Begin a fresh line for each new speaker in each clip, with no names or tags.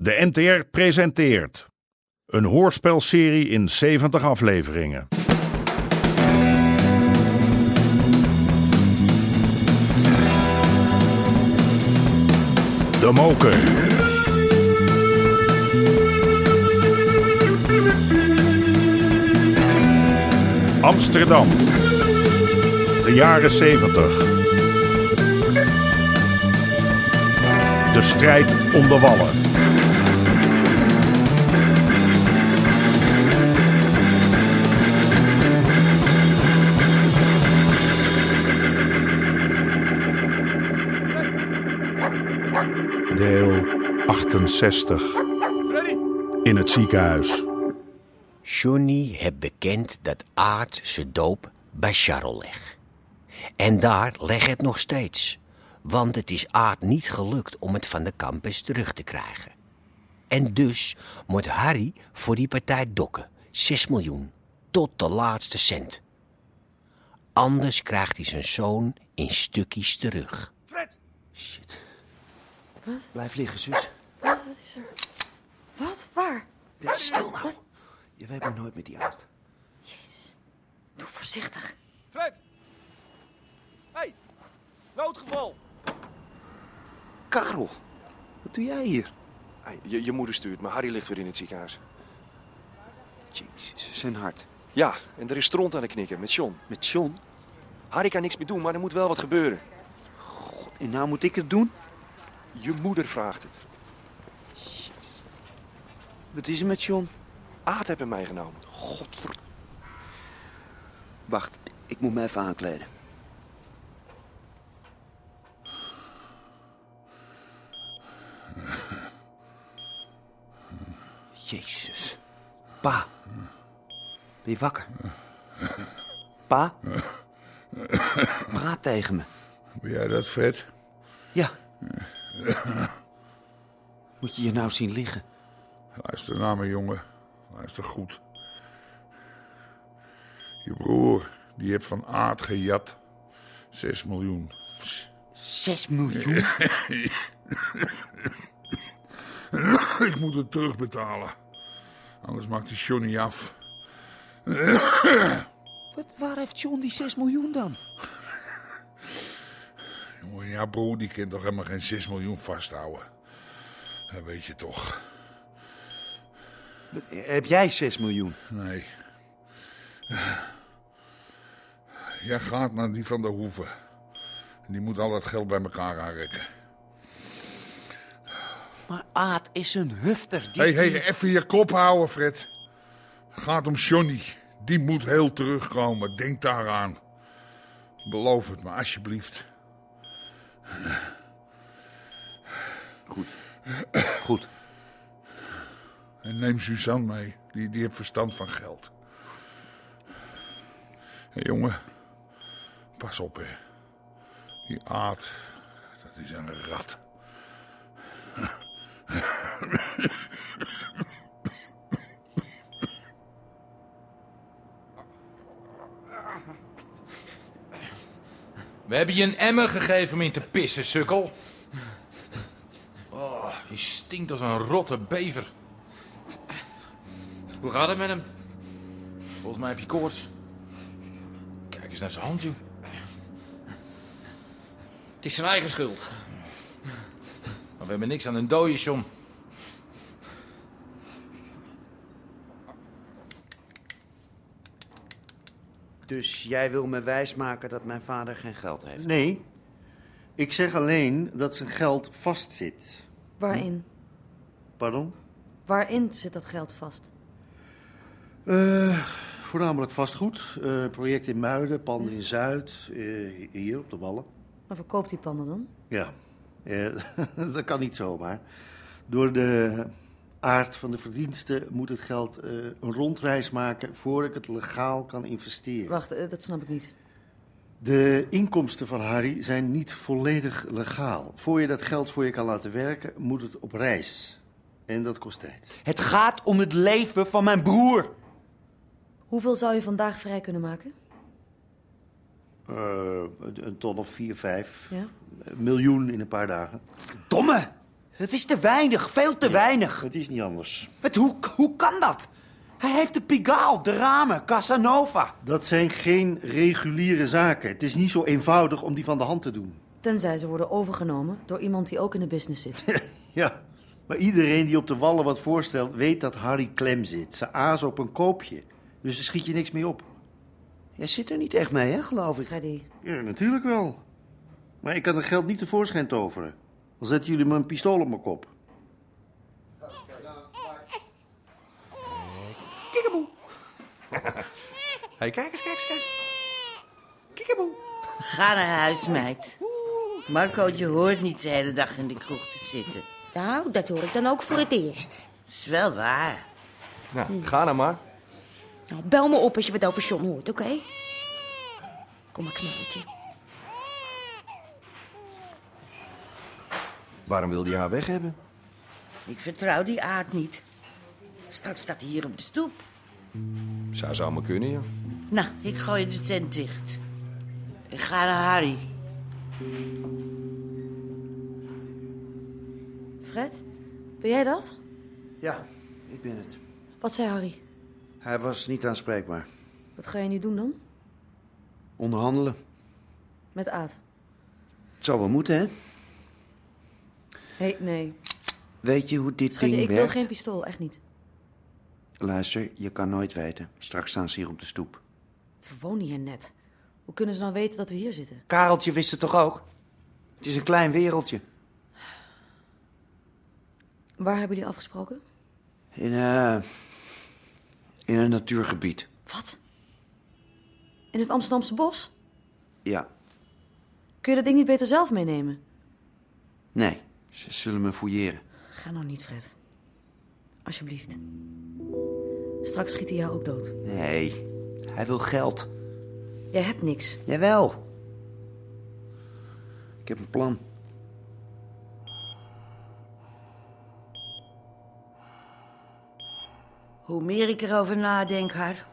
De NTR presenteert een hoorspelserie in 70 afleveringen. De Moker. Amsterdam. De jaren 70. De strijd om de wallen. Deel 68. In het ziekenhuis.
Johnny heeft bekend dat Aard zijn doop bij Charles legt. En daar legt het nog steeds. Want het is Aard niet gelukt om het van de campus terug te krijgen. En dus moet Harry voor die partij dokken. 6 miljoen. Tot de laatste cent. Anders krijgt hij zijn zoon in stukjes terug.
Shit. Blijf liggen, zus.
Wat, wat is er? Wat? Waar?
Ja, stil nou. Je weet maar nooit met die aard.
Doe voorzichtig.
Fred! hey, noodgeval!
Karel, wat doe jij hier?
Hey, je, je moeder stuurt maar Harry ligt weer in het ziekenhuis.
Jezus, zijn hart.
Ja, en er is stront aan de knikken met John.
Met John?
Harry kan niks meer doen, maar er moet wel wat gebeuren.
En nou moet ik het doen?
Je moeder vraagt het.
Wat is er met John?
Aad heeft hem meegenomen.
Godver... Wacht, ik moet me even aankleden. Jezus. Pa. Ben je wakker? Pa? Praat tegen me.
Ben jij dat, Fred?
Ja. Moet je je nou zien liggen?
Luister naar me, jongen. Luister goed. Je broer, die heeft van aard gejat. Zes miljoen.
Zes miljoen?
Ik moet het terugbetalen. Anders maakt die Johnny af.
Wat, waar heeft John die zes miljoen dan?
Jongen, ja, broer, die kan toch helemaal geen zes miljoen vasthouden. Dat weet je toch.
Wat, eh, heb jij zes miljoen?
Nee. Jij gaat naar die van de Hoeve. Die moet al dat geld bij elkaar aanrekken.
Maar Aad is een hufter. Die...
Hé, hey, hey, even je kop houden, Fred. Gaat om Johnny. Die moet heel terugkomen. Denk daaraan. Beloof het me, alsjeblieft.
Goed. Goed.
En neem Suzanne mee. Die, die heeft verstand van geld. Hé, jongen. Pas op, hè. Die aard, dat is een rat.
We hebben je een emmer gegeven om in te pissen, sukkel. Oh, je stinkt als een rotte bever. Hoe gaat het met hem? Volgens mij heb je koorts. Kijk eens naar zijn hand, joh.
Het is zijn eigen schuld.
Maar we hebben niks aan een dode, John.
Dus jij wil me wijsmaken dat mijn vader geen geld heeft?
Nee. Ik zeg alleen dat zijn geld vastzit.
Waarin?
Pardon?
Waarin zit dat geld vast?
Eh, voornamelijk vastgoed. Eh, project in Muiden, panden in Zuid, eh, hier op de Wallen.
Maar verkoopt die panden dan?
Ja, Eh, dat kan niet zomaar. Door de aard van de verdiensten moet het geld eh, een rondreis maken... voor ik het legaal kan investeren.
Wacht, eh, dat snap ik niet.
De inkomsten van Harry zijn niet volledig legaal. Voor je dat geld voor je kan laten werken, moet het op reis. En dat kost tijd.
Het gaat om het leven van mijn broer.
Hoeveel zou je vandaag vrij kunnen maken?
Eh, een ton of vier, vijf.
Ja.
Een miljoen in een paar dagen.
Domme!
Het is te weinig, veel te weinig.
Het is niet anders.
Wat, hoe, hoe kan dat? Hij heeft de Pigaal, de ramen, Casanova.
Dat zijn geen reguliere zaken. Het is niet zo eenvoudig om die van de hand te doen.
Tenzij ze worden overgenomen door iemand die ook in de business zit.
Ja, maar iedereen die op de wallen wat voorstelt, weet dat Harry klem zit. Ze aas op een koopje. Dus daar schiet je niks mee op.
Jij zit er niet echt mee, hè, geloof ik.
Freddy,
Ja, natuurlijk wel. Maar ik kan het geld niet tevoorschijn toveren. Dan zetten jullie me een pistool op mijn kop.
hey, kijk eens, kijk eens, kijk. Kikkeboe.
Ga naar huis, meid. Marco, je hoort niet de hele dag in de kroeg te zitten.
Nou, dat hoor ik dan ook voor het eerst.
Is wel waar.
Nou, ga nou maar.
Nou, bel me op als je wat over John hoort, oké? Kom maar, knalletje.
Waarom wil hij haar weg hebben?
Ik vertrouw die aard niet. Straks staat hij hier op de stoep.
Zou ze allemaal kunnen, ja.
Nou, ik gooi de tent dicht. Ik ga naar Harry.
Fred, ben jij dat?
Ja, ik ben het.
Wat zei Harry?
Hij was niet aanspreekbaar.
Wat ga je nu doen dan?
Onderhandelen.
Met Aad.
Het zou wel moeten, hè?
Hé, nee.
Weet je hoe dit
Freddy,
ding
ik wil
werkt?
geen pistool, echt niet.
Luister, je kan nooit weten. Straks staan ze hier op de stoep.
We wonen hier net. Hoe kunnen ze nou weten dat we hier zitten?
Kareltje wist het toch ook? Het is een klein wereldje.
Waar hebben jullie afgesproken?
In, eh in een natuurgebied.
Wat? In het Amsterdamse bos?
Ja,
Kun je dat ding niet beter zelf meenemen?
nee. Ze zullen me fouilleren.
Ga nou niet, Fred. Alsjeblieft. Straks schiet hij jou ook dood.
Nee, hij wil geld.
Jij hebt niks.
Jawel. Ik heb een plan.
Hoe meer ik erover nadenk, haar.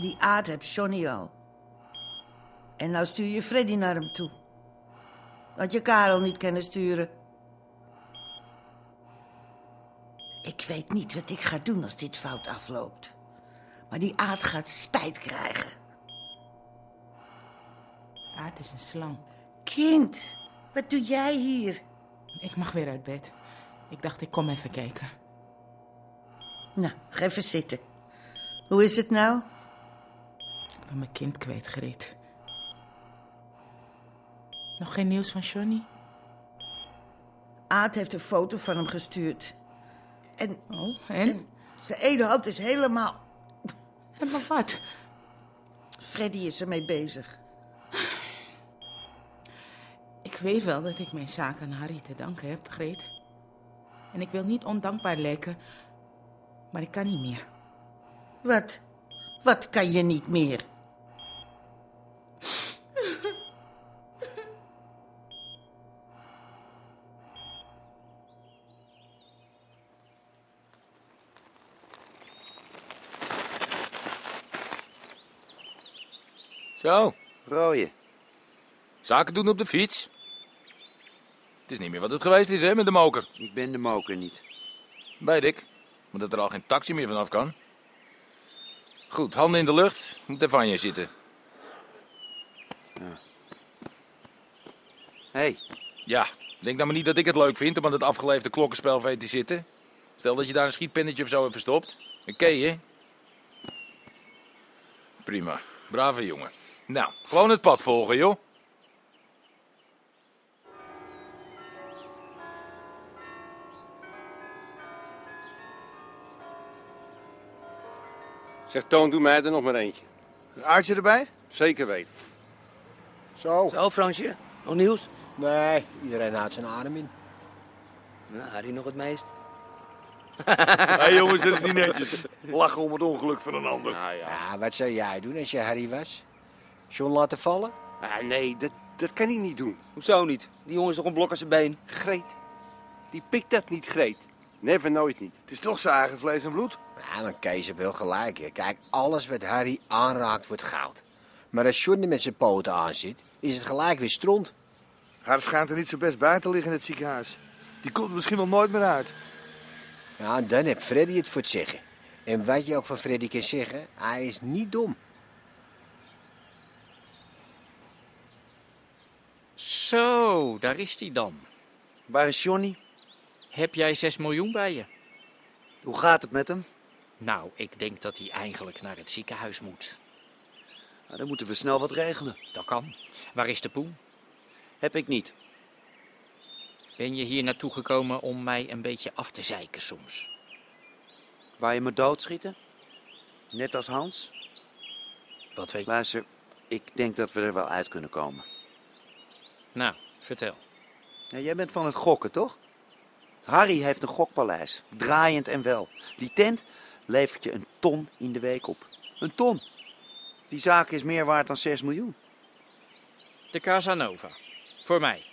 Die aard heb Johnny al. En nou stuur je Freddy naar hem toe. Dat je Karel niet kunnen sturen. Ik weet niet wat ik ga doen als dit fout afloopt. Maar die aard gaat spijt krijgen.
Aard is een slang.
Kind, wat doe jij hier?
Ik mag weer uit bed. Ik dacht, ik kom even kijken.
Nou, ga even zitten. Hoe is het nou?
Ik ben mijn kind kwijtgereed. Nog geen nieuws van Johnny?
Aad heeft een foto van hem gestuurd. En,
Oh, en?
zijn ene hand is helemaal...
Helemaal wat?
Freddy is ermee bezig.
Ik weet wel dat ik mijn zaak aan Harry te danken heb, Greet. En ik wil niet ondankbaar lijken, maar ik kan niet meer.
Wat? Wat kan je niet meer?
Zo,
Rooien.
zaken doen op de fiets. Het is niet meer wat het geweest is, hè, met de moker.
Ik ben de moker niet.
Weet ik. Maar dat er al geen taxi meer vanaf kan. Goed, handen in de lucht. Moet even aan je zitten.
Hé. Hey.
Ja, denk dan maar niet dat ik het leuk vind om aan dat afgeleefde klokkenspel weet te zitten. Stel dat je daar een schietpennetje of zo hebt verstopt. Dan ken je. Prima. Brave jongen. Nou, gewoon het pad volgen, joh.
Zeg Toon, doe mij er nog maar eentje. Een aardje erbij? Zeker weten. Zo.
Zo, Fransje. Nog nieuws? Nee, iedereen haalt zijn adem in.
Nou, Harry nog het meest.
Hé
hey, jongens, dat is niet netjes. Lachen om het ongeluk van een ander.
ja. wat zou jij doen als je Harry was? John laten vallen?
Ah, nee, dat, dat kan hij niet doen. Hoezo niet? Die jongen is toch een blok aan zijn been? Greet. Die pikt dat niet, Greet. Never, nooit niet. Het is toch zijn eigen vlees en bloed?
Ja, maar Kees heeft wel gelijk. Hè. Kijk, alles wat Harry aanraakt wordt goud. Maar als John er met zijn poten aan zit, is het gelijk weer stront.
Haar schijnt er niet zo best bij te liggen in het ziekenhuis. Die komt er misschien wel nooit meer uit.
Ja,
Nou,
Nou, dan heeft Freddy het voor het zeggen. En wat je ook van Freddy kan zeggen, hij is niet dom.
Zo, Oh, daar is hij dan.
Waar is Johnny?
Heb jij 6 miljoen bij je?
Hoe gaat het met hem?
Nou, ik denk dat hij eigenlijk naar het ziekenhuis moet.
Nou, dan moeten we snel wat regelen.
Dat kan. Waar is de poen?
Heb ik niet.
Ben je hier naartoe gekomen om mij een beetje af te zeiken soms?
Waar je me doodschieten? Net als Hans?
Wat weet je?
Luister, ik denk dat we er wel uit kunnen komen.
Nou, vertel.
Ja, jij bent van het gokken, toch? Harry heeft een gokpaleis, draaiend en wel. Die tent levert je een ton in de week op. Een ton. Die zaak is meer waard dan 6 miljoen.
De Casanova. Voor mij.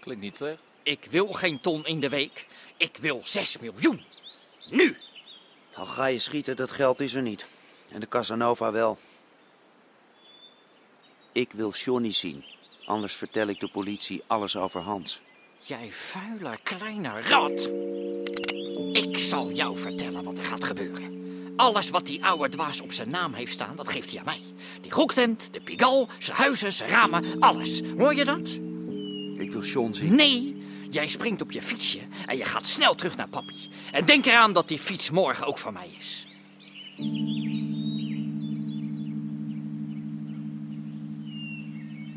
Klinkt niet slecht.
Ik wil geen ton in de week. Ik wil 6 miljoen. Nu!
Al Nou, ga je schieten, dat geld is er niet. En de Casanova wel. Ik wil Johnny zien. Anders vertel ik de politie alles over Hans.
Jij vuile kleine rat. Ik zal jou vertellen wat er gaat gebeuren. Alles wat die oude dwaas op zijn naam heeft staan, dat geeft hij aan mij. Die goktent, de pigal, zijn huizen, zijn ramen, alles. Hoor je dat?
Ik wil John zien.
Nee, jij springt op je fietsje en je gaat snel terug naar papi. En denk eraan dat die fiets morgen ook van mij is.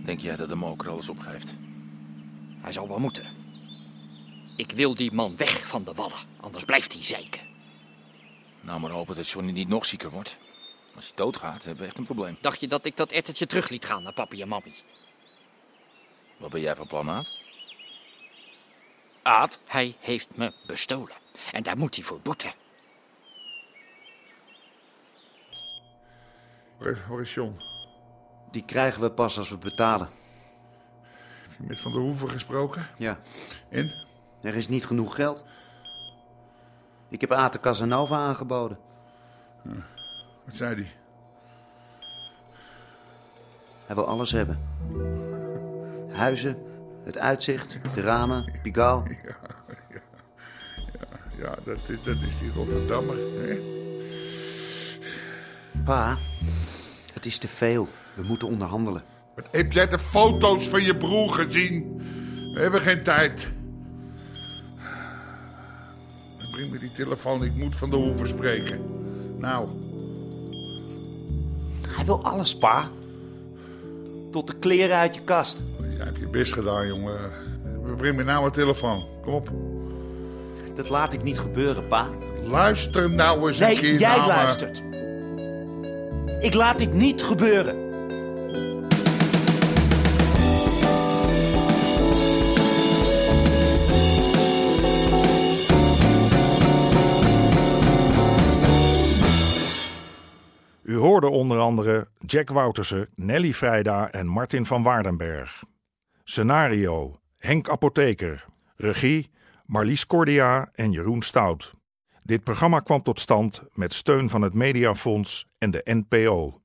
Denk jij dat de moker alles opgeeft?
Hij zal wel moeten. Ik wil die man weg van de wallen, anders blijft hij zeiken.
Nou, maar hopen dat Johnny niet nog zieker wordt. Als hij doodgaat, hebben we echt een probleem.
Dacht je dat ik dat ettertje terug liet gaan naar papi en mammi?
Wat ben jij van plan, Aad?
Aad? Hij heeft me bestolen. En daar moet hij voor boeten.
Waar is, waar is John?
Die krijgen we pas als we betalen.
Heb je met Van der Hoeven gesproken?
Ja.
En?
Er is niet genoeg geld. Ik heb Aad de Casanova aangeboden.
Hm. Wat zei hij?
Hij wil alles hebben. Huizen, het uitzicht, de ramen, Pigaal.
Ja, ja, ja, ja dat, dat is die Rotterdammer. Hè?
Pa, het is te veel. We moeten onderhandelen.
Wat heb jij de foto's van je broer gezien? We hebben geen tijd. Breng me die telefoon, ik moet van de hoeven spreken. Nou.
Hij wil alles, pa. Tot de kleren uit je kast.
Jij hebt je best gedaan, jongen. Breng me nou een telefoon. Kom op.
Dat laat ik niet gebeuren, pa.
Luister nou eens
nee,
een keer
jij
naar me.
luistert. Ik laat dit niet gebeuren.
U hoorde onder andere Jack Woutersen, Nelly Vrijda en Martin van Waardenberg. Scenario: Henk Apotheker. Regie: Marlies Cordia en Jeroen Stout. Dit programma kwam tot stand met steun van het Mediafonds en de NPO.